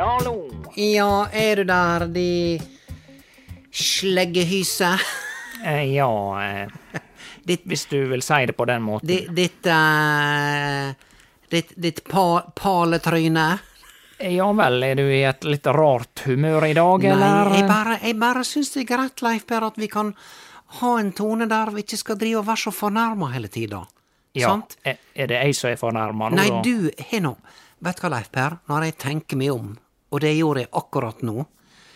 Hallo. Ja, er du der, de sleggehyse? Eh, Ja eh, Ditt, Hvis du vil si det på den måten. di- ditt, eh, ditt, ditt pa, paletryne? Ja vel, er du i et litt rart humør i dag, eller? Nei, jeg bare, jeg bare syns det er greit, Leif Per, at vi kan ha en tone der vi ikke skal drive og være så fornærma hele tida. ja. Sant? Er, er det jeg som er fornærma nå, Nei, da? du, hei nå. Vet du hva, Leif Per, når jeg tenker meg om, og det gjorde jeg akkurat nå,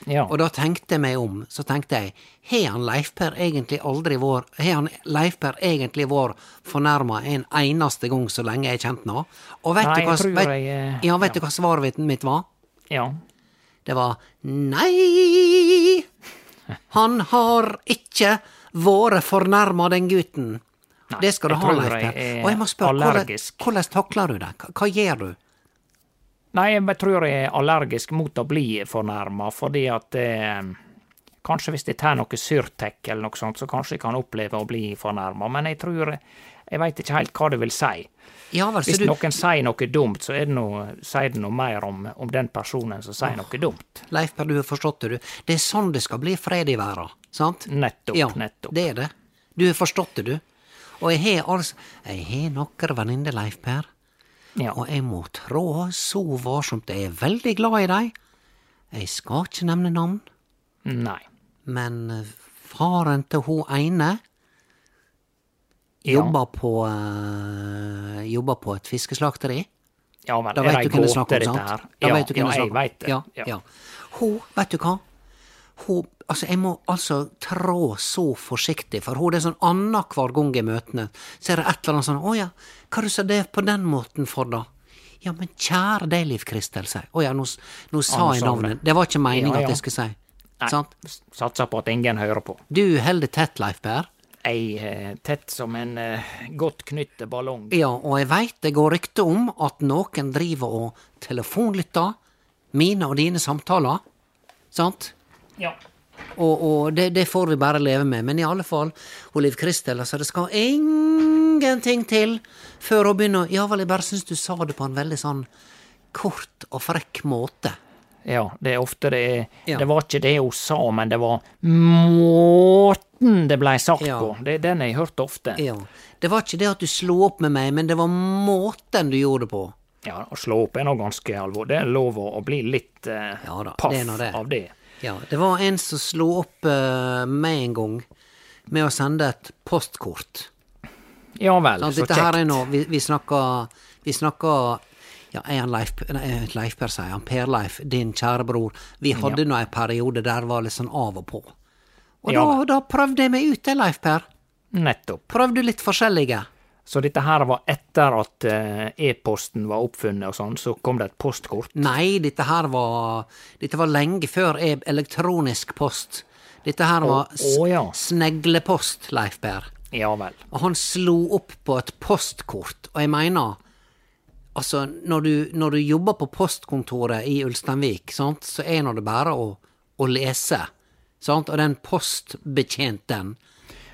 Ja. og da tenkte jeg meg om, så tenkte jeg, har han Leif Per egentlig aldri vår, har han Leif Per egentlig vår fornærma en eneste gang så lenge jeg er kjent nå? Og vet Nei, du hva, jeg tror vet, jeg, eh, ja, vet du hva svaret mitt- mitt var? ja. Det var nei, han har ikke vært fornærma, den gutten. det skal du jeg ha, tror Leif jeg Per. er Og jeg må spørre, hvordan, allergisk. hvordan takler du det? Hva, hva gjør du? Nei, jeg bare tror jeg er allergisk mot å bli fornærma, fordi at eh, Kanskje hvis jeg tar noe Syrtec eller noe sånt, så kanskje jeg kan oppleve å bli fornærma, men jeg tror Jeg veit ikke helt hva det vil si. Ja vel, så Hvis Altså, du, noen sier noe dumt, så er det noe, sier det noe mer om, om den personen som sier noe dumt. Leif Per, du har forstått det, du. Det er sånn det skal bli fred i verden, sant? Nettopp, ja, nettopp. Det er det. Du har forstått det, du. Og jeg har altså Jeg har noen venninner, Leif Per, Ja. og jeg må trå så varsomt. Jeg er veldig glad i dem. Jeg skal ikke nevne navn. Nei. Men eh, faren til hun ene Ja. jobber på eh, Jobber på et fiskeslakteri. Ja vel, Da er vet det du ei hvem det er snakk gåte, om, dette sant? her? Da ja, vet du hvem ja, det er jeg snakk om. veit det. Ja, ja. Hun, vet du hva? Hun Altså, jeg må altså trå så forsiktig, for hun det er sånn annenhver gang i møtene, så er det et eller annet sånn 'Å ja, hva du sa det på den måten for, da?' Ja, men kjære deg, Liv Kristel, sier jeg. Å ja, nå, s- nå sa nå jeg sa du det. navnet. Det var ikke meninga Ja, ja. at jeg skulle si. Nei, Sant? s- Satser på at ingen hører på. Du holder det tett, Leif Per. Jeg eh, tett som en eh, godt knytt ballong. Ja, og jeg veit det går rykte om at noen driver og telefonlytter mine og dine samtaler, sant? Ja. Og, og det, det får vi bare leve med. Men i alle fall, hun Liv Kristel, altså, det skal ingenting til før hun begynner å Ja vel, jeg bare syns du sa det på en veldig sånn kort og frekk måte. ja. Det er ofte det er Ja. Det var ikke det hun sa, men det var måten det blei sagt Ja. på. Det er den jeg har hørt ofte. Ja. Det var ikke det at du slo opp med meg, men det var måten du gjorde det på. Ja, å slå opp er nå ganske alvorlig. Det er lov å å bli litt eh, Ja da, paff det er nå det. av det. Ja, det var en som slo opp eh, meg en gang med å sende et postkort. Ja vel, Sant, så dette her er kjekt. nå, vi, vi snakker, vi snakker Ja, er han Leif, nei, Leif Per, sier han. Per-Leif, din kjære bror. Vi hadde nå ei periode der var litt sånn av og på. Og Ja da, da prøvde jeg meg ut, det, Leif Per. Nettopp. Prøvde litt forskjellige. Så dette her var etter at eh, e-posten var oppfunnet og sånn, så kom det et postkort. Nei, dette her var Dette var lenge før e- elektronisk post. Dette her var s- å, ja. sneglepost, Leif Per. Ja vel. Og han slo opp på et postkort, og jeg mener Altså, når du, når du jobber på postkontoret i Ulsteinvik, sant, så er nå det bare å, å lese, sant, og den postbetjenten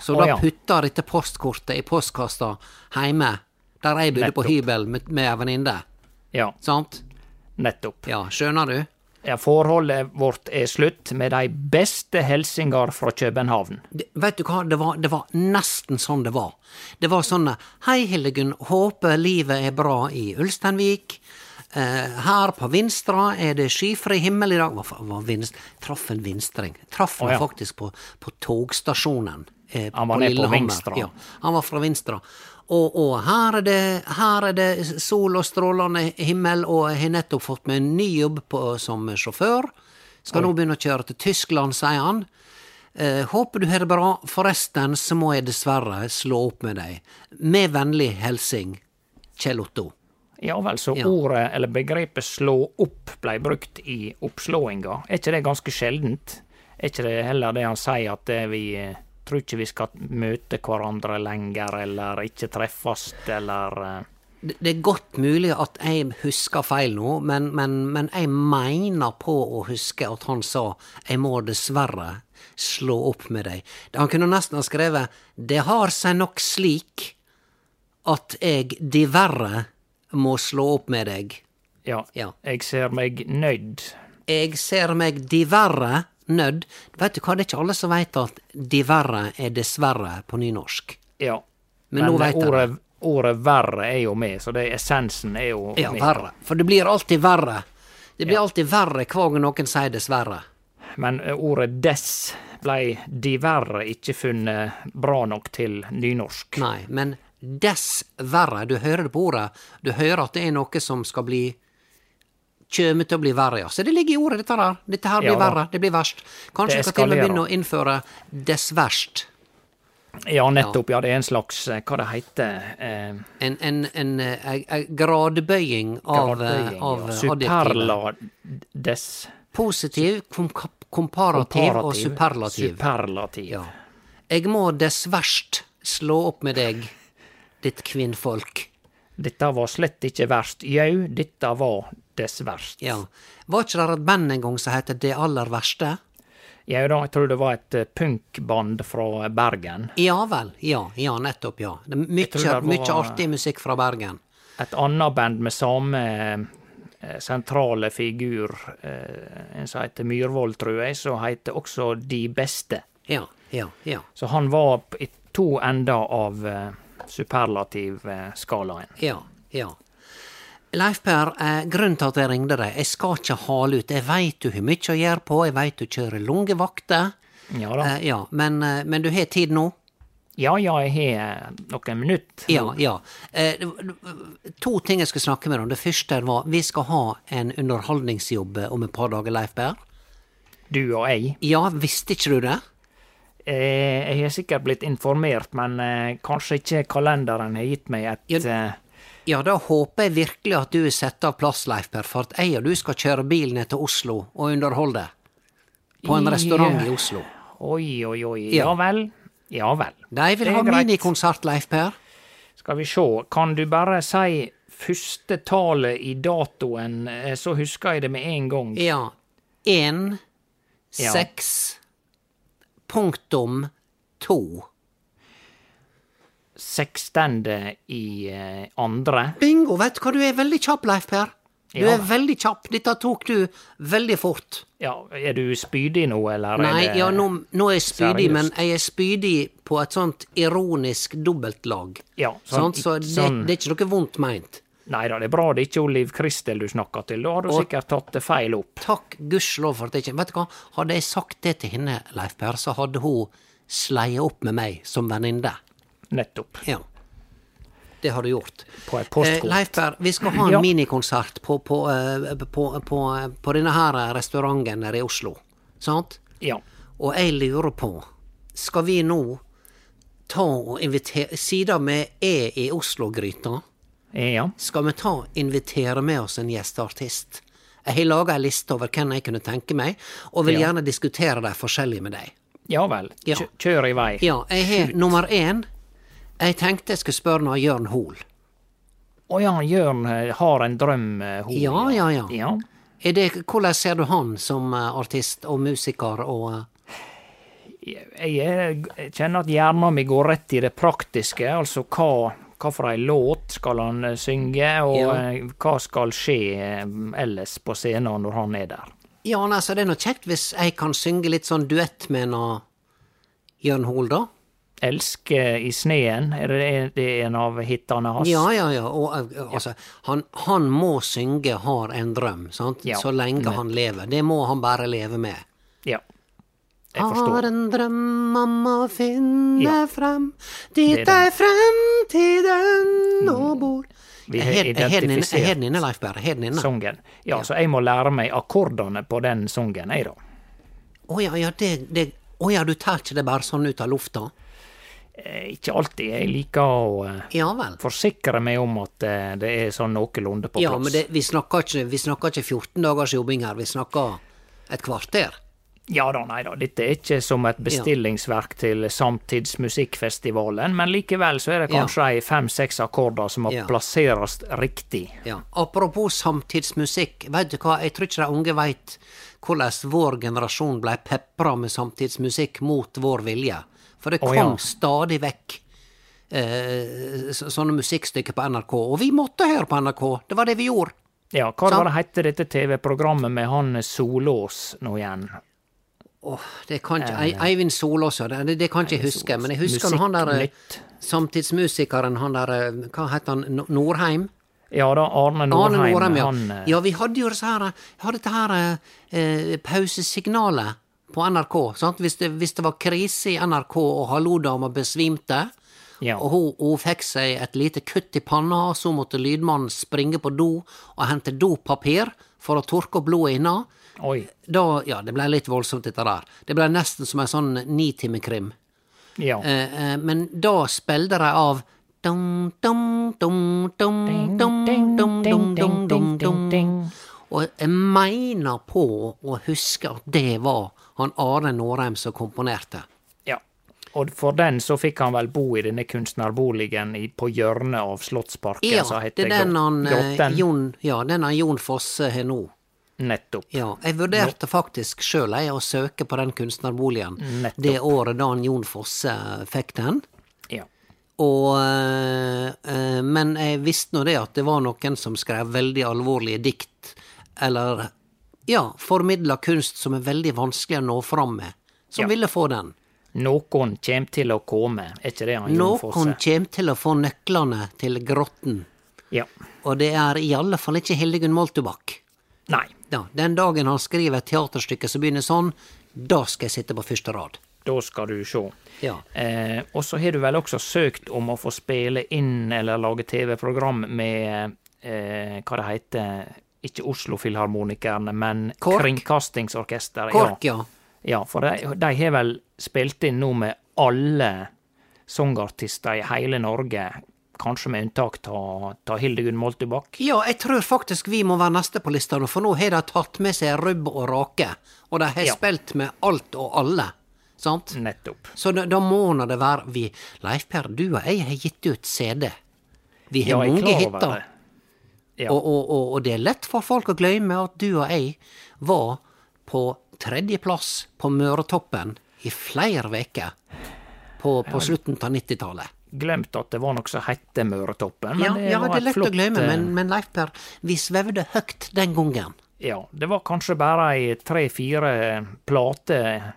Så Å, da ja. putter dette postkortet i postkassa heime, der jeg bodde på Nettopp. hybel med, med ei venninne, Ja, sant? nettopp. Ja, skjønner du? Ja, forholdet vårt er slutt med de beste helsingar fra København. det, vet du hva, det var, det var nesten sånn det var. Det var sånn Hei, Hildegunn, håper livet er bra i Ulsteinvik. Eh, her på Vinstra er det skyfri himmel i dag. Hva, fa- var vinst, traff en vinstring. Traff han Å, ja. faktisk på, på togstasjonen. eh, Han var ned på Lillehammer. Vinstra. Ja, han var fra Vinstra. Og, og her, er det, her er det sol og strålende himmel, og jeg har nettopp fått meg en ny jobb på, som sjåfør. Skal nå begynne å kjøre til Tyskland, sier han. Eh, håper du har det bra. Forresten så må jeg dessverre slå opp med deg. Med vennlig hilsing Kjell Otto. Ja vel, så Ja. ordet eller begrepet slå opp blei brukt i oppslåinga. Er ikke det ganske sjeldent? Er ikke det heller det han sier at eh, vi eh, tror ikke vi skal møte hverandre lenger, eller ikke treffes, eller eh, Det det er godt mulig at jeg husker feil nå, men, men, men jeg mener på å huske at han sa 'jeg må dessverre slå opp med deg'. Han kunne nesten ha skrevet 'det har seg nok slik at jeg diverre må slå opp med deg'. ja, Ja. jeg ser meg nøyd. Jeg ser meg diverre nødd. Vet du hva, det er ikke alle som veit at diverre er dessverre på nynorsk. Ja. Men nå eh, vet jeg det. ordet, ordet verre er jo med, så det essensen er jo Ja, med. verre. For det blir alltid verre. Det blir alltid verre hver gang noen sier dessverre. Men eh, ordet dess blei diverre ikke funnet bra nok til nynorsk. Nei, men dessverre, du hører det på ordet. Du hører at det er noe som skal bli Kjøme til å bli verre, ja. Så det ligger i ordet, dette der. Dette her blir Ja da. verre. Det blir verst. Kanskje vi Det skal til og med eskalerer. begynne å innføre dessverst. Ja, nettopp. Ja, det er en slags eh, Hva det heter eh, En, en, en, eh, eh, eh, gradbøying av, gradbøying, eh, av ja. eh, adjektivet. Superla dess. Positiv, kom komparativ og komparativ, superlativ. Superlativ. Ja. Jeg må dessverst slå opp med deg, ditt kvinnfolk. Dette var slett ikke verst. Jau, dette var dess verst. Ja. Var ikke det et band en gang som het Det aller verste? Jau da, jeg tror det var et eh, punkband fra Bergen. Ja vel. Ja, ja nettopp, ja. Det er tror mykje, det var- mykje artig musikk fra Bergen. et annet band med samme eh, sentrale figur, eh, en som heter Myrvold, tror jeg, som heter også De Beste. Ja, ja, ja. Så han var p- i to ender av eh, superlativskalaen. Ja, ja. Leif Per, eh, grunnen til at jeg ringde deg, jeg skal ikke hale ut. Jeg veit du har mykje å gjøre på, jeg veit du kjører lange vakter. Ja da. Eh, ja, men, eh, men du har tid nå? Ja ja, jeg har eh, noen minutter. Ja, ja. Eh, det var- det var to ting jeg skulle snakke med deg om. Det første var vi skal ha en underholdningsjobb om et par dager, Leif Berr. Du og jeg. Ja, visste ikke du det? Eh, jeg har sikkert blitt informert, men eh, kanskje ikke kalenderen har gitt meg et eh, Ja, da håper jeg virkelig at du setter av plass, Leif Berr, for at jeg og du skal kjøre bil ned til Oslo og underholde. På en Ja. restaurant i Oslo. Oi, oi, oi. Ja. Ja vel. Ja vel. De vil Det er ha greit. minikonsert, Leif Per. Skal vi sjå, kan du bare si første tallet i datoen, eh, så husker jeg det med en gang. Ja. Én, Ja. seks, punktum to. 16. i eh, andre. Bingo! Vet du hva, du er veldig kjapp, Leif Per. Du Ja. er veldig kjapp. Dette tok du veldig fort. Ja, er du spydig nå, eller? Nei, er det... ja, nå, nå er jeg spydig, seriøst? men jeg er spydig på et sånt ironisk dobbeltlag. Ja, sånn, sånn- så det, sånn- det er ikke noe vondt meint. Nei da, det er bra det er ikke Oliv Kristel du snakker til, da har du sikkert tatt det feil opp. Takk gudskjelov for at jeg ikke Vet du hva, hadde jeg sagt det til henne, Leif Per, så hadde hun sleia opp med meg som venninne. Nettopp. Ja. Det har du gjort. På et postkort. Eh, Leif Per, vi skal ha en Ja. minikonsert på, på, eh, på, på, på denne her restauranten her i Oslo. Sant? Ja. Og jeg lurer på, skal vi nå ta og invitere Siden vi er E i Oslo-gryta, ja. skal vi ta og invitere med oss en gjesteartist? Jeg har laga ei liste over hvem jeg kunne tenke meg, og vil Ja. gjerne diskutere de forskjellige med deg. Ja vel. Ja. Kjø- Kjør i vei. Ja, jeg har nummer én. Jeg tenkte jeg skulle spørre noe av Jørn Hoel. Å ja, Jørn eh, har en drøm, eh, hun. Ja, ja, ja. ja. Er det, hvordan ser du han som eh, artist og musiker og eh, Jeg, eh, g- kjenner at hjernen min går rett i det praktiske, altså hva, hva for ei låt skal han eh, synge, og Ja. eh, hva skal skje eh, ellers på scenen når han er der. Ja, nei, så det er nå kjekt hvis jeg kan synge litt sånn duett med en av Jørn Hoel, da. Elske eh, i sneen, er det, er det en av hitene hans? Ja, ja, ja. Og, eh, altså, han, han må synge 'Har en drøm', sant? Ja, så lenge han lever. Det må han bare leve med. Ja. Jeg Har forstår. en drøm om å finne Ja. frem Det dit er Mm. ei fremtiden nå bor Vi Jeg har har- Jeg har den inne- jeg har identifisert den inne, Leif Berre. Jeg har den inne. Å Sangen. Ja, så jeg må lære meg akkordene på den sangen, jeg, da. ja, ja, det, det Å ja, du tar ikke det bare sånn ut av lufta? Eh, Ikke alltid. Jeg liker å eh, Ja vel. forsikre meg om at eh, det er sånn noenlunde på plass. Ja, men det, vi snakker ikke Vi snakker ikke 14 dagers jobbing her, vi snakker et kvarter. Ja da, nei da, dette er ikke som et bestillingsverk til Samtidsmusikkfestivalen, men likevel så er det Ja. kanskje ei fem-seks akkorder som må Ja. plasseres riktig. Ja. Apropos samtidsmusikk, veit du hva, jeg tror ikke de unge veit hvordan vår generasjon blei pepra med samtidsmusikk mot vår vilje. For det Å, kom ja. stadig vekk eh, så- sånne musikkstykker på NRK, og vi måtte høre på NRK, det var det vi gjorde. Ja, hva Sant. var det hette dette TV-programmet med han Solås nå igjen? Åh, det kan ikke, Eh. Ei- Eivind Solås, ja, det, det kan ikke jeg huske, men jeg husker Musikk han der eh, Nytt. samtidsmusikeren, han der, eh, hva het han, No- Norheim? Ja da, Arne Norheim. Arne Norheim, ja. Han, eh, ja, vi hadde jo disse her, hadde dette her eh, pausesignalet på NRK. Sant? Hvis, det, hvis det var krise i NRK og hallo-dama besvimte, Ja. og hun, hun fikk seg et lite kutt i panna, og så måtte lydmannen springe på do og hente dopapir for å tørke opp blodet inna, Oi. da Ja, det blei litt voldsomt, dette der. Det blei nesten som en sånn nitimekrim. Ja. Eh, eh, men da spilte de av dum, dum, dum, dum, dum, dum, dum, dum, dum, dum, dum. Og jeg mener på å huske at det var han Are Norheim som komponerte. ja. Og for den så fikk han vel bo i denne kunstnerboligen i, på hjørnet av Slottsparken, Ja, som det heter er den han Grot- eh, Grotten. Jon, ja, den han Jon Fosse har nå. Nettopp. Ja, jeg vurderte faktisk sjøl å søke på den kunstnerboligen Nettopp. det året da han Jon Fosse fikk den. Ja. Og, eh, eh, men jeg visste nå det at det var noen som skrev veldig alvorlige dikt, eller ja, formidla kunst som er veldig vanskelig å nå fram med, som Ja. ville få den. Noen kjem til å komme, er ikke det han Jon Fosse? Noen kjem til å få nøklene til grotten, Ja. og det er i alle fall ikke Hildegunn Moltebakk. Nei, Ja, den dagen han skriver et teaterstykke som begynner sånn, da skal jeg sitte på første rad. da skal du sjå. Ja. Eh, og så har du vel også søkt om å få spille inn eller lage TV-program med eh, hva det heter Ikke Oslo Filharmonikerne, men KORK? Kringkastingsorkesteret. KORK, ja. ja, for de, de har vel spilt inn nå med alle sangartister i hele Norge, kanskje med unntak ta, ta Hildegunn Moltebakk. Ja, jeg tror faktisk vi må være neste på lista nå, for nå har de tatt med seg rubb og rake, og de har Ja. Mm. spilt med alt og alle, sant? Nettopp. Så da, da må nå det være vi Leif Per, du og jeg har gitt ut CD. Vi har jeg er mange klar over hiter, det. Ja. og, og, og, og det er lett for folk å glemme at du og jeg var på tredjeplass på Møretoppen i flere veker på, på slutten av 90-tallet. glemt at det var noe som hette Møretoppen. Ja, det ja, var det et er lett flott, å glemme, eh, men, men Leif Per, vi svevde høyt den gangen. Ja, det var kanskje bare ei tre-fire plater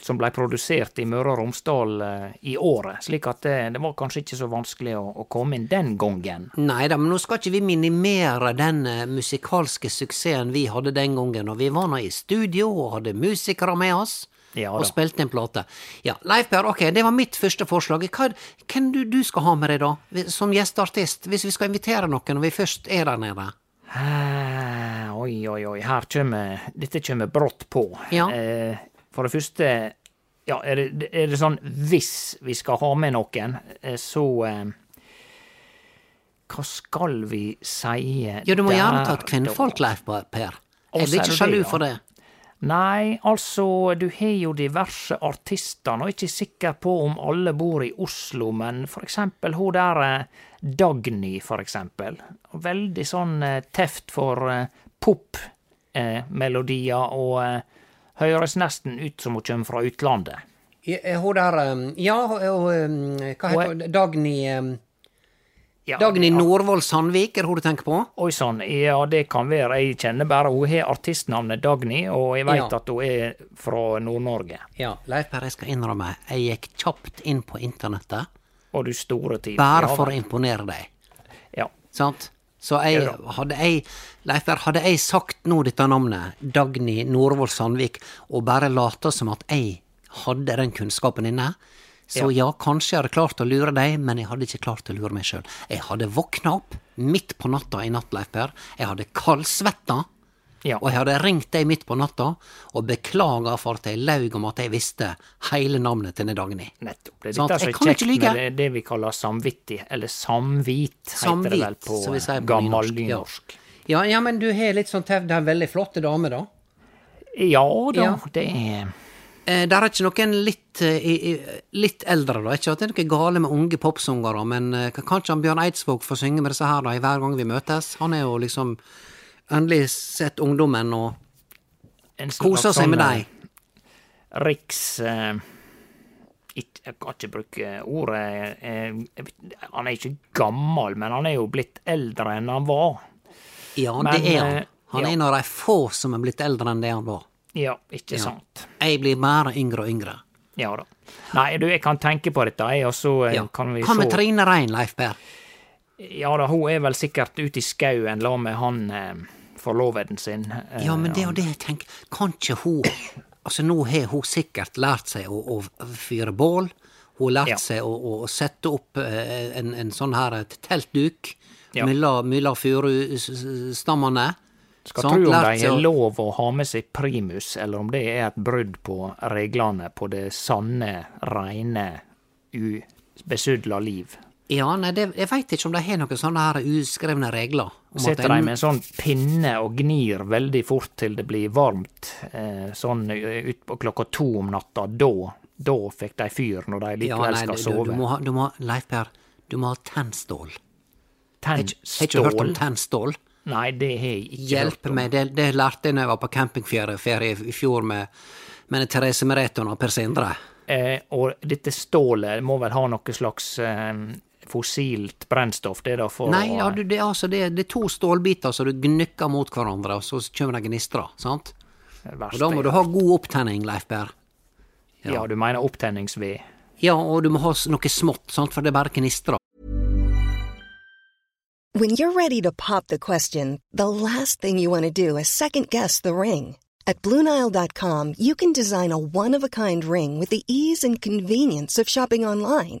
som ble produsert i Møre og Romsdal eh, i året, slik at det, det var kanskje ikke så vanskelig å, å komme inn den gangen. Nei da, men nå skal ikke vi minimere den eh, musikalske suksessen vi hadde den gangen, og vi var nå i studio og hadde musikere med oss. Ja og da. spilte en plate. Ja, Leif Per, ok, det var mitt første forslag. Hva, hvem du, du skal ha med deg, da? vi- Som gjesteartist, hvis vi skal invitere noen når vi først er der nede? Eh, Oi, oi, oi, her kommer Dette kommer brått på. Ja. Eh, For det første Ja, er det, er det sånn hvis vi skal ha med noen, eh, så eh, Hva skal vi si eh, Ja, du må gjerne ta et der, kvinnfolk, da? Leif Per. Jeg Å, blir sier ikke du det, sjalu ja? for det. Nei, altså, du har jo diverse artister, og jeg er ikke sikker på om alle bor i Oslo, men for eksempel hun der eh, Dagny, for eksempel. Veldig sånn eh, teft for eh, pop-melodier, og eh, høres nesten ut som hun kommer fra utlandet. eh, Hun der Ja, eh, hva heter hun? Dagny eh, Ja, Dagny ja. Norvoll Sandvik, er det hun du tenker på? Oi sann, ja det kan være, jeg kjenner bare hun har artistnavnet Dagny, og jeg veit Ja. at hun er fra Nord-Norge. Ja, Leif Per, jeg skal innrømme, jeg gikk kjapt inn på internettet Og du store tid. bare Ja, for å imponere deg. ja. Sant? Så jeg, Ja da. hadde jeg, Leif Per, hadde jeg sagt nå dette navnet, Dagny Norvoll Sandvik, og bare lata som at jeg hadde den kunnskapen inne, så ja. kanskje jeg hadde klart å lure deg, men jeg hadde ikke klart å lure meg sjøl. Jeg hadde våkna opp midt på natta i natt, Leif Per. Jeg hadde kaldsvetta. Ja. Og jeg hadde ringt deg midt på natta og beklaga for at jeg laug om at jeg visste hele navnet til denne Dagny. Nettopp. Det er Sant? dette som Jeg er kan ikke kjekt lyge. med det, det vi kaller samvittig, eller samvit, heter det vel Samvit, på, som vi sier på gammel nynorsk, ja. nynorsk. Ja, ja, men du har litt sånn tevd, den veldig flotte dame, da. Ja da, Ja. det er Eh, der er ikke noen litt, eh, i, i, litt eldre, da. Ikke at det er noe gale med unge popsangere, men eh, kan- kanskje han Bjørn Eidsvåg får synge med disse her da, i hver gang vi møtes? Han er jo liksom endelig sett ungdommen og en slags koser seg sånn, med dem. eh, Riks... eh, ikke- jeg kan ikke bruke ordet eh, jeg vet- Han er ikke gammel, men han er jo blitt eldre enn han var. Ja, men, det er han. eh, Han er ja. en av de få som er blitt eldre enn det han var. Ja, ikke sant? Jeg blir bare yngre og yngre. Ja da. Nei, du, jeg kan tenke på dette, jeg, og så eh, Ja. kan vi Hva med se- Trine Rein, Leif Per? Ja da, hun er vel sikkert ute i skauen la med han eh, forloveden sin. Eh, Ja, men det er jo det jeg tenker. Kan ikke hun Altså, nå har hun sikkert lært seg å, å fyre bål. Hun har lært Ja. seg å, å sette opp eh, en, en sånn her et teltduk Ja. mellom mellom furustammene. Skal Sant? tro om Lært de seg har å- lov å ha med seg primus, eller om det er et brudd på reglene på det sanne, reine, ubesudla liv. Ja, nei, det, jeg veit ikke om de har noen sånne her uskrevne regler. om at Sitter en- de med en sånn pinne og gnir veldig fort til det blir varmt, eh, sånn eh, ut på klokka to om natta, da, da fikk de fyr når de ja, likevel nei, skal du, du sove. må ha, du må, ha- Leif Per, du må ha tennstål. Tenn Har ikke- har ikke hørt om stål? tennstål? Nei, det har jeg ikke hørt Hjelp om. meg, det, det lærte jeg når jeg var på campingferie ferie i fjor med, med Therese Mereton og Per Sindre. Eh, og dette stålet må vel ha noe slags eh, fossilt brennstoff, det da for Nei, å ja, du, det, er altså, det, er- det er to stålbiter som du gnukker mot hverandre, og så kommer det gnistrer. sant? Eh, Og da må du ha god opptenning, Leif Berr. ja. du mener opptenningsved. Ja, og du må ha s- noe smått, sant? for det er bare gnistrer. When you're ready to pop the question, the last thing you want to do is second guess the ring. At Bluenile.com, you can design a one of a kind ring with the ease and convenience of shopping online.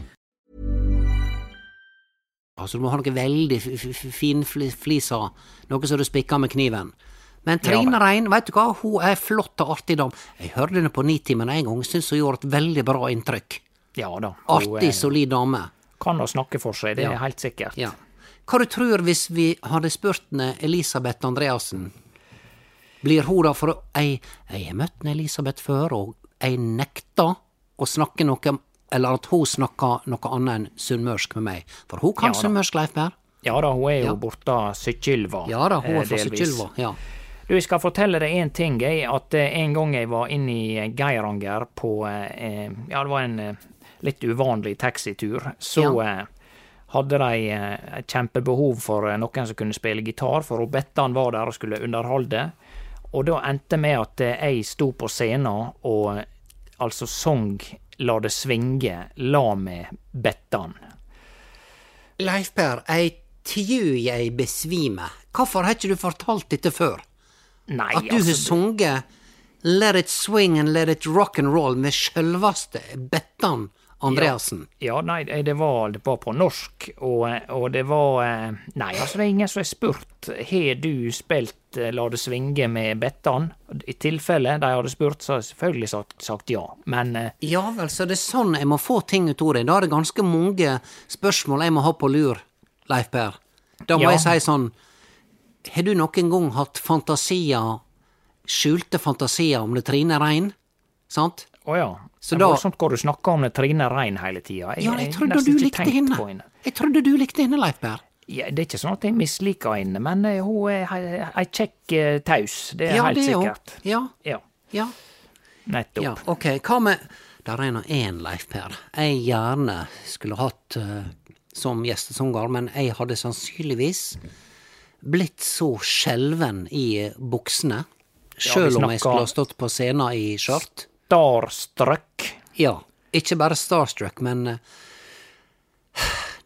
Altså, du må ha noe veldig f- f- f- finflisa, noe som du spikker med kniven. Men Trine Rein, veit du hva, hun er flott og artig dam. Jeg hørte henne på Nitimen en gang, syns hun gjorde et veldig bra inntrykk. Ja da. hun, eh, Artig, solid dame. Kan da snakke for seg, det er helt sikkert. Ja. Hva du tror hvis vi hadde spurt henne Elisabeth Andreassen? Blir hun da for ei Jeg har møtt henne Elisabeth før, og jeg nekta å snakke noe Eller at hun snakka noe annet enn sunnmørsk med meg. For hun kan Ja da. sunnmørsk, Leif Per. Ja da, hun er jo borte Sykkylva. Ja da, hun eh, er fra delvis. Sykkylva. Ja. Du, jeg skal fortelle deg en ting. Jeg, at eh, en gang jeg var inne i eh, Geiranger på eh, eh, Ja, det var en eh, litt uvanlig taxitur. Så eh, hadde de eh, et kjempebehov for eh, noen som kunne spille gitar, for Bettan var der og skulle underholde. Og da endte med at eh, jeg sto på scenen og eh, altså sang La det svinge, la med Bettan. Leif Per, jeg tju jeg besvimer. Hvorfor har ikke du fortalt dette før? Nei, At du har altså, sunget Let It Swing and Let It Rock and Roll med sjølvaste Bettan Andreassen. Ja, nei, eh, det var, det var på norsk, og, og det var eh, Nei, altså, det er ingen som har spurt har du spilt eh, La det svinge med Bettan. I tilfelle de hadde spurt, så har jeg selvfølgelig sagt, sagt ja. Men eh, Ja vel, så det er sånn jeg må få ting ut av deg. Da er det ganske mange spørsmål jeg må ha på lur, Leif Per. Da må Ja. jeg si sånn Har du noen gang hatt fantasier, skjulte fantasier om det Trine Rein? Sant? å ja. Så det er da- voldsomt hvor du snakker om det Trine Rein hele tida. Ja, jeg trodde du likte henne. Jeg trodde du likte henne, Leif Per. Ja, det er ikke sånn at jeg misliker henne, men eh, hun er he- ei kjekk eh, taus. Det er Ja, helt det er hun. sikkert. Ja. Ja, Ja. nettopp. ja. Ok, hva med Der er nå én, Leif Per, jeg gjerne skulle hatt eh, som gjestesanger, men jeg hadde sannsynligvis blitt så skjelven i buksene, sjøl om jeg snakker- skulle ha stått på scenen i skjørt. Starstruck. Ja. Ikke bare starstruck, men eh,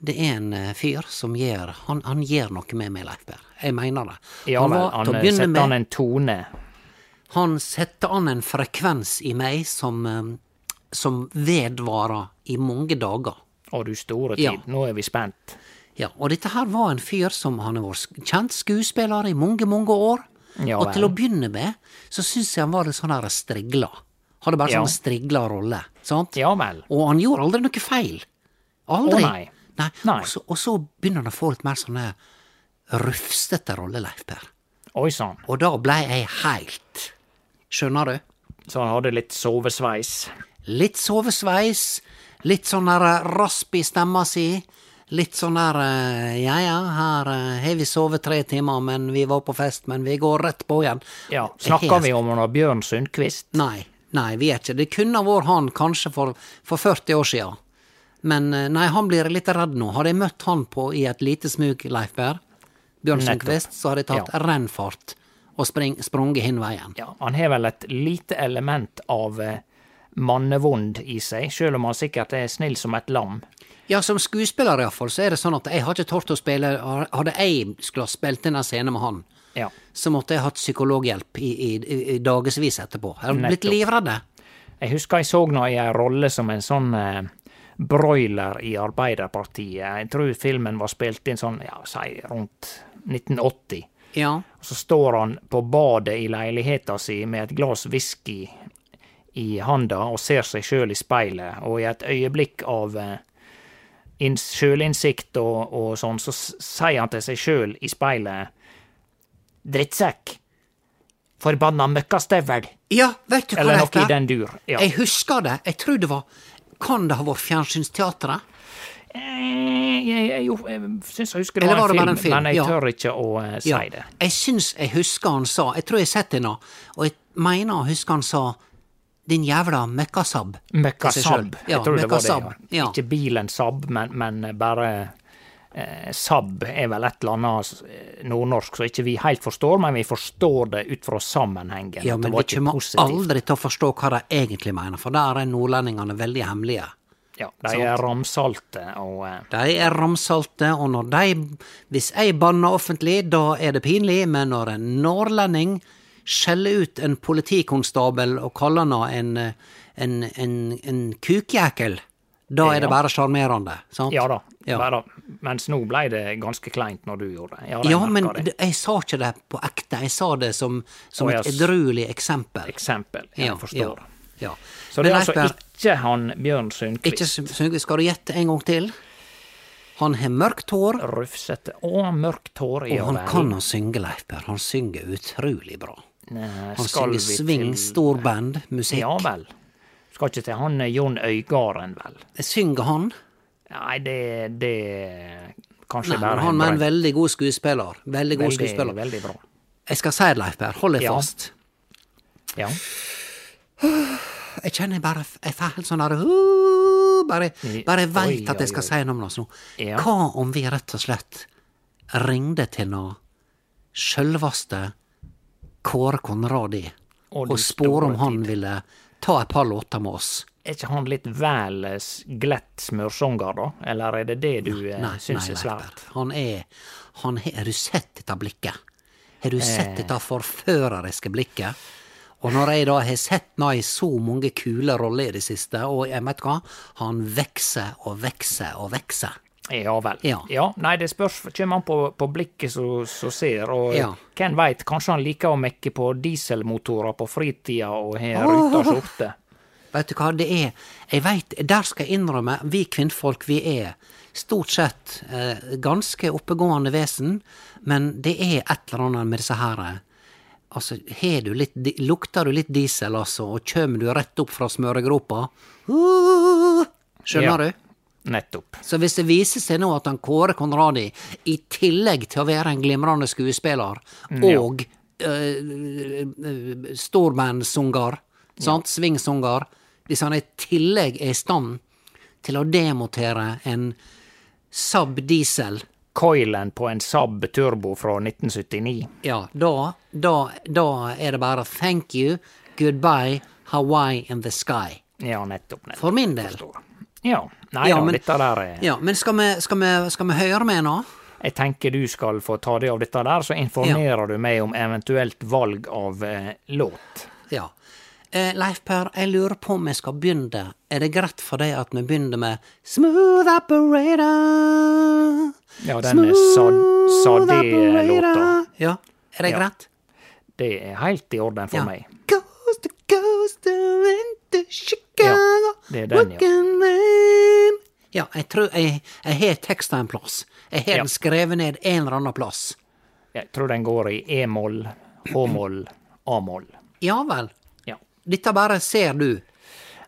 det er en eh, fyr som gjør Han, han gjør noe med meg, Leif Per. Jeg mener det. Ja han vel, var- han til å eh, begynne setter med- han en tone. Han setter an en frekvens i meg som, eh, som vedvarer i mange dager. Å, du store tid, Ja. nå er vi spent. Ja, og dette her var en fyr som han har vært sk- kjent skuespiller i mange, mange år. Ja og vel. til å begynne med så syns jeg han var litt sånn her strigla. Hadde bare Ja. sånn strigla rolle, sant? Ja vel. Og han gjorde aldri noe feil. Aldri. Å, nei. Nei. Nei. Og, så, og så begynner han å få litt mer sånne rufsete rolleleiper. Oi sann, Og da blei jeg heilt Skjønner du? så han hadde litt sovesveis. Litt sovesveis, litt sånn der eh, rasp i stemma si. Litt sånn der eh, Ja, ja, her eh, har vi sovet tre timer, men vi var på fest, men vi går rett på igjen. Ja, Snakker vi om han har Bjørn Sundquist? Nei, nei, vi er ikke Det kunne ha vært han kanskje for, for 40 år sia. Men eh, nei, han blir litt redd nå. Hadde jeg møtt han på i et lite smug, Leif Berr, Bjørn Nettopp. Sundquist, så hadde jeg tatt Ja. rennfart og spring, sprunget hin veien. Ja, Han har vel et lite element av eh, mannevond i seg, sjøl om han sikkert er snill som et lam. Ja, som skuespiller iallfall, så er det sånn at jeg har ikke tort å spille Hadde jeg skulle ha spilt inn en scene med han, Ja. så måtte jeg hatt psykologhjelp i, i, i, i dagevis etterpå. Jeg hadde blitt Nettopp. livredde. Jeg husker jeg så nå i ei rolle som en sånn eh, broiler i Arbeiderpartiet. Jeg tror filmen var spilt inn sånn, ja, si rundt 1980. Ja. Og så står han på badet i leiligheta si med et glass whisky i handa og ser seg sjøl i speilet, og i et øyeblikk av eh, inn- sjølinnsikt og, og sånn, så s- sier han til seg sjøl i speilet Drittsekk! Forbanna møkkastøvel! Ja, vet du hva Eller dette noe i den dur. Ja. Jeg husker det. Jeg tror det var Kan det ha vært Fjernsynsteatret? Eh, Jeg, jeg, jo, jeg syns jeg husker det Eller var, var det en, bare film, en film? men jeg Ja. tør ikke å eh, si det. Jeg syns jeg husker han sa Jeg tror jeg har sett henne, og jeg mener jeg husker han sa Din jævla møkkasabb. Møkka til seg Saab. selv. jeg tror det var det. møkkasabb. Ja. Ja. Ikke bilen Saab, men, men bare eh, Saab er vel et eller annet eh, nordnorsk som ikke vi helt forstår, men vi forstår det ut fra sammenhengen. Ja, at men det var vi ikke kommer positivt. aldri til å forstå hva de egentlig mener, for der er nordlendingene veldig hemmelige. Ja, de er ramsalte og eh, De er ramsalte, og når de Hvis jeg banner offentlig, da er det pinlig, men når en nordlending skjeller ut en politikonstabel og kaller han en, en, en, en kukjækel, Da er Ja. det bare sjarmerende, sant? Ja da. Ja. Bare, mens nå ble det ganske kleint når du gjorde det. jeg Ja, merker men det. d- jeg sa ikke det på ekte, jeg sa det som, som Å, et ja, s- edruelig eksempel. Eksempel. Jeg forstår. Ja, ja. Så det Men er altså Leif Berr, ikke han Bjørn Sundquist. ikke s- synge, skal du gjette en gang til? Han har mørkt hår, Rufsete og mørkt hår. og han kan å synge, Leif Berr. Han synger utrolig bra. eh, Han synger swing, storband, musikk. Ja vel. Skal ikke til han eh, Jon Øygarden, vel? Eh, Synger han? Nei, det, det Kanskje Nei, men bare han er en drøm. veldig god skuespiller. Veldig god skuespiller. veldig bra. Jeg skal si det, Leif Berr, hold deg Ja. fast. Ja. Jeg kjenner bare Jeg får helt sånn derre uh, Bare bare jeg Oi, veit at jeg skal oi, si noe om oss nå. Ja. Hva om vi rett og slett ringde til nå sjølvaste Kåre Konradi Og og, den spore om store han ville ta et par låter med oss? Er ikke han litt vel eh, s- glatt smørsanger, da? Eller er det det du eh, syns er Leifberg. svært? Han er han har, Har du sett dette blikket? Har du Eh. sett dette forføreriske blikket? Og når jeg da har sett han i så mange kule roller i det siste, og jeg vet hva, han vokser og vokser og vokser. Ja vel. Ja. nei, det spørs kommer an på, på blikket som som ser, og Ja. hvem veit, kanskje han liker å mekke på dieselmotorer på fritida og har ruta skjorte. Vet du hva det er? Jeg vet, Der skal jeg innrømme, vi kvinnfolk vi er stort sett eh, ganske oppegående vesen, men det er et eller annet med disse her eh, Altså, har du litt, di- lukter du litt diesel, altså, og kjem du rett opp fra smøregropa uh, Skjønner Ja. du? Nettopp. Så hvis det viser seg nå at han Kåre Konradi, i tillegg til å være en glimrende skuespiller ja. og eh, uh, storbandsanger, sant, svingsanger, hvis han i tillegg er i stand til å demontere en Saab diesel, Coilen på en Saab Turbo fra 1979. ja, da, da, da er det bare thank you, goodbye, Hawaii in the sky. Ja, nettopp. nettopp. For min del. Ja. Nei Ja, da, men- dette der er Ja, men skal vi, skal vi, skal vi høre med nå? Jeg tenker du skal få ta det av dette der, så informerer du meg om eventuelt valg av eh, låt. Ja. Eh, Leif Per, jeg lurer på om jeg skal begynne. Er det greit for deg at vi begynner med Smooth Operator? Ja, den er sa- sa det, eh, låta. operator. Ja, er det Ja, greit? Det er helt i orden for Ja. meg. Goes to coaster into Chicago. Ja, det er den, ja. walking man. Ja, jeg tror jeg, jeg har teksten en plass. Jeg har Ja. den skrevet ned en eller annen plass. Jeg tror den går i E-moll, H-moll, A-moll. Ja vel. Ja. Dette bare ser du.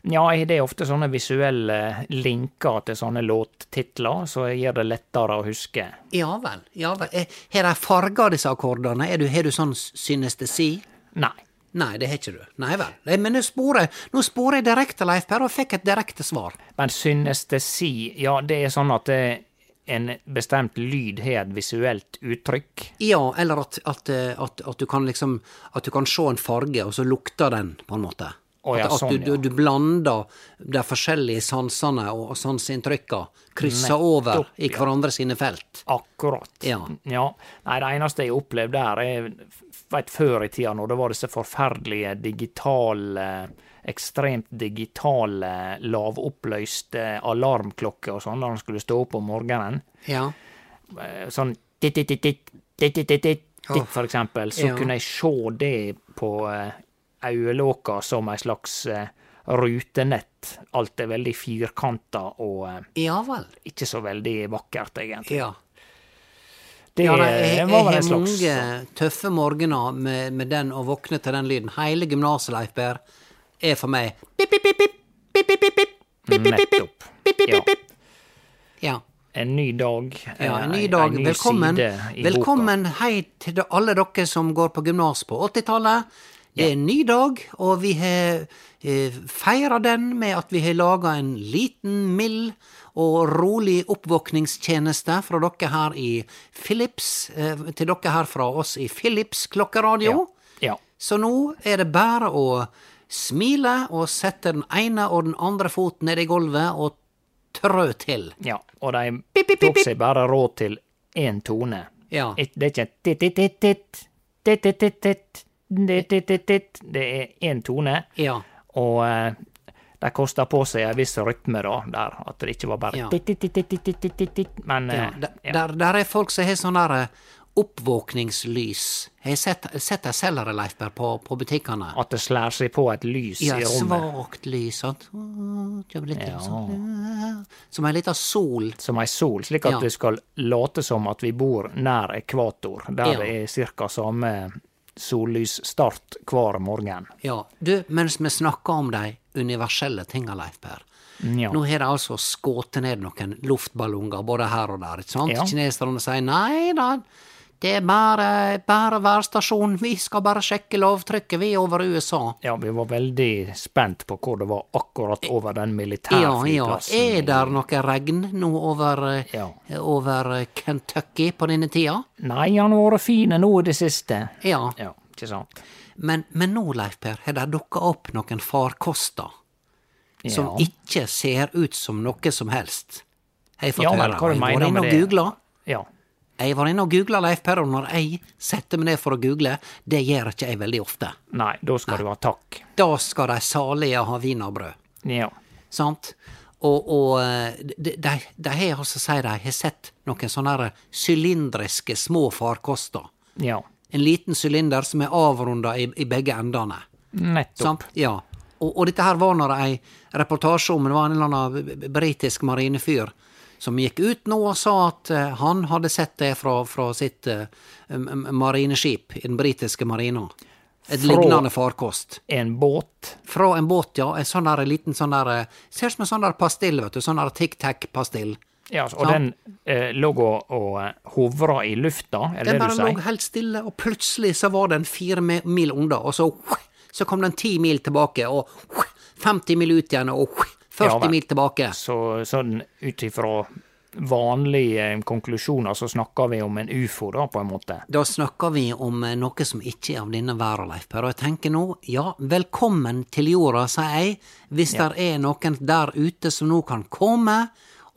ja, det er ofte sånne visuelle linker til sånne låttitler, så jeg gjør det lettere å huske. Ja vel. ja vel. Eh, Har de farger, disse akkordene? Er du, har du sånn s- synestesi? Nei. Nei, det har ikke du. Nei vel. Nei, Men nå sporer nå sporer jeg direkte, Leif Per, og fikk et direkte svar. Men synestesi, ja, det er sånn at eh, en bestemt lyd har et visuelt uttrykk. Ja, eller at, at, eh, at, at du kan liksom At du kan se en farge, og så lukter den, på en måte. Å ja, at, at sånn, du, ja. du, du blander de forskjellige sansene og, og sanseinntrykka, krysser over i hverandre sine felt. Akkurat. Ja. Nei, det eneste jeg opplevde der, er vet, før i tida, når det var disse forferdelige digitale Ekstremt digitale, lavoppløste alarmklokker og sånn, da han skulle stå opp om morgenen. Ja. Eh, Sånn titt-titt-titt, titt-titt-titt, for eksempel. Så Ja. kunne jeg se det på eh, øyelokka som ei slags eh, rutenett. Alt er veldig firkanta og eh, Ja vel. ikke så veldig vakkert, egentlig. Ja. Det Ja, nei, jeg, det jeg, var vel har en slags mange tøffe morgener med, med den å våkne til den lyden. Hele gymnaset, Leif Per, er for meg pip, pip, pip, pip, pip, pip, pip, pip, pip, pip, pip, Nettopp. pip, pip, Ja. pip, pip. Ja. En ny dag. Ja, en ny eh, dag. en ny Velkommen, side i boka. velkommen hei til da- alle dere som går på gymnas på 80-tallet. Det er en ny dag, og vi har eh, feira den med at vi har laga en liten, mild og rolig oppvåkningstjeneste fra dere her i Philips, eh, til dere her fra oss i Philips klokkeradio. Ja. Så nå er det bare å smile og sette den ene og den andre foten ned i gulvet og trø til. ja. Og de Pip, pip, pip, tok pip. seg bare råd til én tone. Ja. Et- Det er ikke en titt-titt-titt-titt, titt-titt-titt-titt, titt-titt-titt-titt. Det er én tone. Ja. Og eh, de kosta på seg en viss rytme, da, der at det ikke var bare Ja. tit, tit, tit, tit, tit, tit, tit, tit, Men Ja, eh, der, ja. der, der er folk som har sånn der eh, oppvåkningslys. Jeg har sett, sett de selger det, Leifberg, på, på butikkene. at det slår seg på et lys Ja, i rommet svakt lys, sant. Mm, det blir litt sånn. Som ei lita sol. som ei sol, slik at Ja. vi skal late som at vi bor nær ekvator, der Ja. det er ca. samme sollysstart hver morgen. Ja. Du, mens vi snakker om de universelle tinga, Leifberg. Ja. Nå har de altså skutt ned noen luftballonger både her og der. ikke sant? Ja. Kineserne sier nei da, det er bare, bare værstasjonen, vi skal bare sjekke lovtrykket, vi er over USA. Ja, vi var veldig spent på hvor det var akkurat over Ja, den Eh, ja. militærflyplassen. Er der noe regn nå over, eh, Ja. over eh, Kentucky på denne tida? Nei, han har vært fin nå i det siste. Ja. Ja, ikke sant? Men, men nå, Leif Per, har det dukka opp noen farkoster Ja. som ikke ser ut som noe som helst. Har Jeg fått Ja, men høre. hva du Jeg mener var inne med og det? googla. Ja. Jeg var inne og googla, Leif Per, og når jeg setter meg ned for å google, det gjør ikke jeg veldig ofte. Nei, da skal du ha takk. Da skal de salige ha wienerbrød. Ja. Sant? Og, og eh, de, de, de har altså, sier de, har sett noen sånne her sylindriske små farkoster. Ja. En liten sylinder som er avrunda i, i begge endene. Nettopp. Sant? Ja. Og, og dette her var når ei reportasje om det var en eller annen b- b- britisk marinefyr som gikk ut nå og sa at eh, han hadde sett det fra, fra sitt eh, m- m- marineskip i den britiske marina. Et Fra- lignende farkost. En båt. Fra en båt, ja. En sånn der liten sånn der eh, Ser ut som en sånn der pastill, vet du. Sånn der tic-tac-pastill. Ja, og Sant. den eh, lå og, og eh, hovra i lufta, er det Den det bare du lå sier? helt stille, og plutselig så var den fire mi- mil unna, og så så kom den ti mil tilbake, og 50 mil ut igjen, og 40 Ja, vel. mil tilbake. Så, sånn ut ifra vanlige eh, konklusjoner så snakker vi om en ufo, da, på en måte. Da snakker vi om eh, noe som ikke er av denne verden, Leif Per. Og jeg tenker nå, ja, velkommen til jorda, sier jeg, hvis der er noen der ute som nå kan komme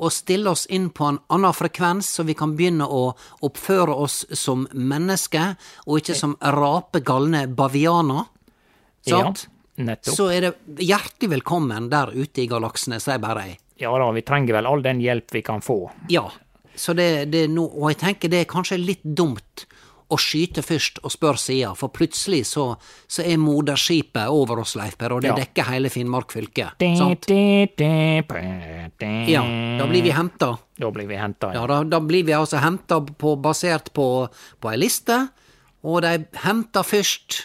og stille oss inn på en annen frekvens, så vi kan begynne å oppføre oss som mennesker, og ikke som rape galne bavianer. Sant? Ja, nettopp. Så er det hjertelig velkommen der ute i galaksene, sier bare jeg. Ja da, vi trenger vel all den hjelp vi kan få. Ja. Så det, det er no, og jeg tenker det er kanskje litt dumt å skyte først og spørre sida, for plutselig så, så er moderskipet over oss, Leif Per, og det Ja. dekker hele Finnmark fylke. Sant? Ja, Ja, da blir vi henta. Da blir vi henta, Ja, ja. da, da blir vi altså henta på, basert på, på ei liste, og de henter først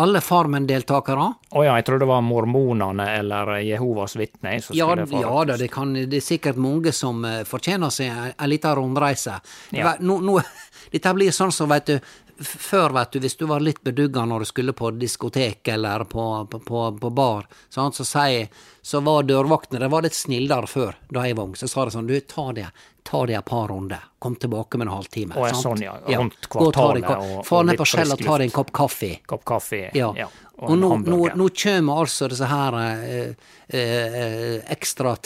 alle Farmen-deltakere. Å ja, jeg trodde det var mormonene eller Jehovas vitner. som Ja, skulle få- ja da, det, kan, det er sikkert mange som eh, fortjener seg en, en liten rundreise. Det Ja. var- Nå, nå, dette blir sånn som, veit du, f- før, veit du, hvis du var litt bedugga når du skulle på diskotek eller på, på, på, på bar, sant, så, sier- så var dørvaktene Det var litt snillere før, da jeg var ung, så sa de sånn Du, ta det. Ta deg et par runder, kom tilbake med en halvtime. Å, ja, sant? sånn, ja, rundt Gå og ta deg en kvartalet kopp- og- Få og ned litt på Shell og frisk ta deg luft. en kopp kaffe. Kopp kaffe Ja. og, og nå, en nå, hamburger. nå kjem altså disse her eh, eh, eh,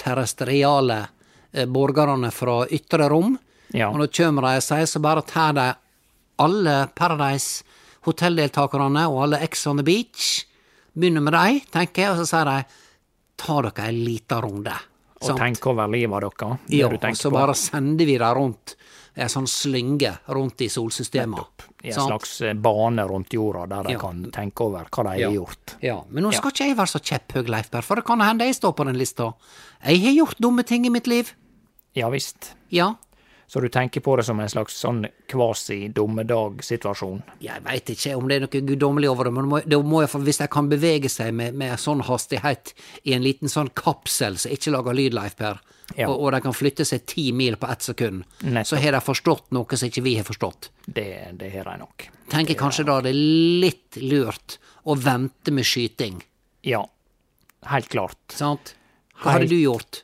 ekstraterrestriale eh, borgerne fra ytre rom. Ja. Og nå kjem de og sier så bare tar de alle Paradise hotelldeltakerne og alle Ex on the Beach. Begynner med dei, tenker jeg, og så sier de ta dere ei lita runde. og tenke over livet deres. det Ja, du tenker og så på. bare sender vi dem rundt ei sånn slynge rundt i solsystemet. I en Sant? slags eh, bane rundt jorda, der de Ja. kan tenke over hva de har gjort. Ja, men nå skal ikke jeg være så kjepphøg, Leifberg, for det kan hende jeg står på den lista. Jeg har gjort dumme ting i mitt liv. Ja visst. Ja. Så du tenker på det som en slags sånn kvasi-dommedag-situasjon? Jeg veit ikke om det er noe guddommelig over det, men må- da må jeg, få- hvis jeg kan bevege seg med, med sånn hastighet i en liten sånn kapsel som ikke lager lyd, Leifberg, Ja. og, og de kan flytte seg ti mil på ett sekund, så har de forstått noe som ikke vi har forstått. Det, det har de nok. Tenker kanskje da det er litt lurt å vente med skyting, Ja. Helt klart. sant? Hva hadde du gjort?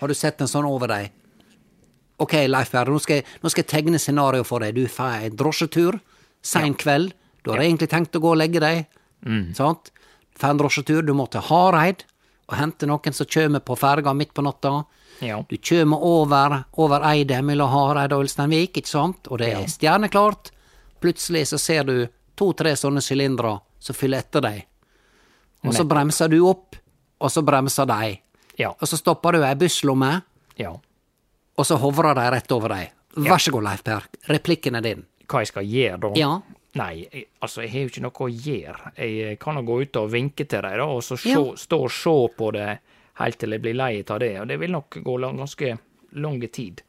Har du sett en sånn over deg? Ok, Leif Berre, nå skal jeg, nå skal jeg tegne scenario for deg. Du får en drosjetur sein kveld. Du har egentlig tenkt å gå og legge deg. Sant? Får en drosjetur. Du må til Hareid og hente noen som kommer på ferga midt på natta. Ja. Du kommer over, over Eidet mellom Hareid og Ulsteinvik, ikke sant? Og det er stjerneklart. Plutselig så ser du to-tre sånne sylindere som fyller etter deg. Og så bremser du opp, og så bremser de. Ja. Og så stopper du ei busslomme, ja. og så hovrer de rett over deg. Vær så god, Leif Per, replikken er din. Hva jeg skal gjøre da? Ja. Nei, jeg- altså, jeg har jo ikke noe å gjøre. Jeg kan jo gå ut og vinke til dem, da, og så se, Ja. stå og se på det helt til jeg blir lei av det. Og det vil nok gå lang, ganske lang tid.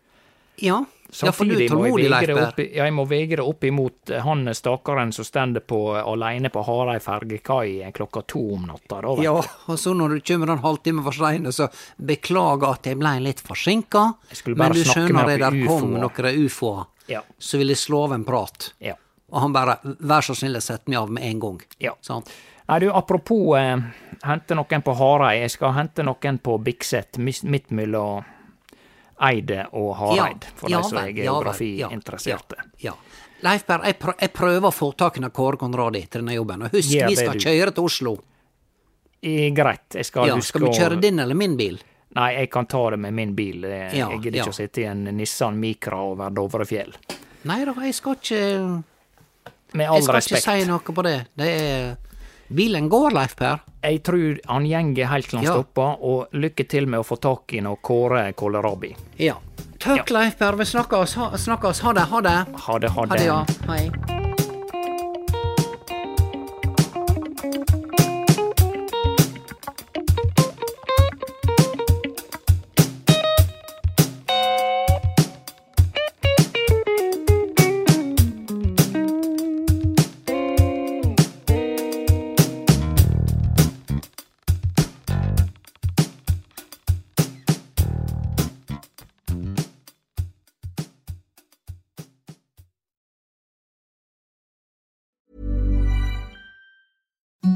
Ja, ja for du er Samtidig må jeg tålmodig, Leif vegre Per. opp, ja, jeg må vegre opp imot eh, han stakkaren som stender på, alene på Hareid fergekai klokka to om natta. Da, vet Ja, du. og så når du kommer en halvtime for seint, så beklager at jeg blei litt forsinka, Jeg skulle bare men du snakke skjønner det med der noen kom UFO-er. noen ufoer, Ja. så vil jeg slå av en prat. Ja. Og han bare 'vær så snill, sett meg av med en gang'. Ja. Sant? Nei, du, apropos eh, hente noen på Hareid. Jeg skal hente noen på Bikset, mis- midt mellom Eide og Hareid, for de som er vel, ja vel, geografiinteresserte. Ja, ja. Leif Berr, jeg, prø jeg prøver å få tak i Kåre Konradi til denne jobben, og husk, Gjør vi det, skal du. kjøre til Oslo. Eh, Greit, jeg skal Ja, huske skal du å- kjøre din eller min bil? Nei, jeg kan ta det med min bil. Eh, Ja, jeg gidder ja. ikke å sitte i en Nissan Micra over Dovrefjell. Nei da, jeg skal ikke Med Jeg all skal respekt. ikke si noe på det. Det er Bilen går, Leif Per. Jeg tror han gjenger helt til han Ja. stopper, og lykke til med å få tak i noe Kåre Kålrabi. Ja. Takk, Leif Per. Vi snakkes. Ha, snakkes. ha det. Ha det. Ha det, ha Ha det. det, ja. Hei.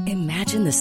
Imagine the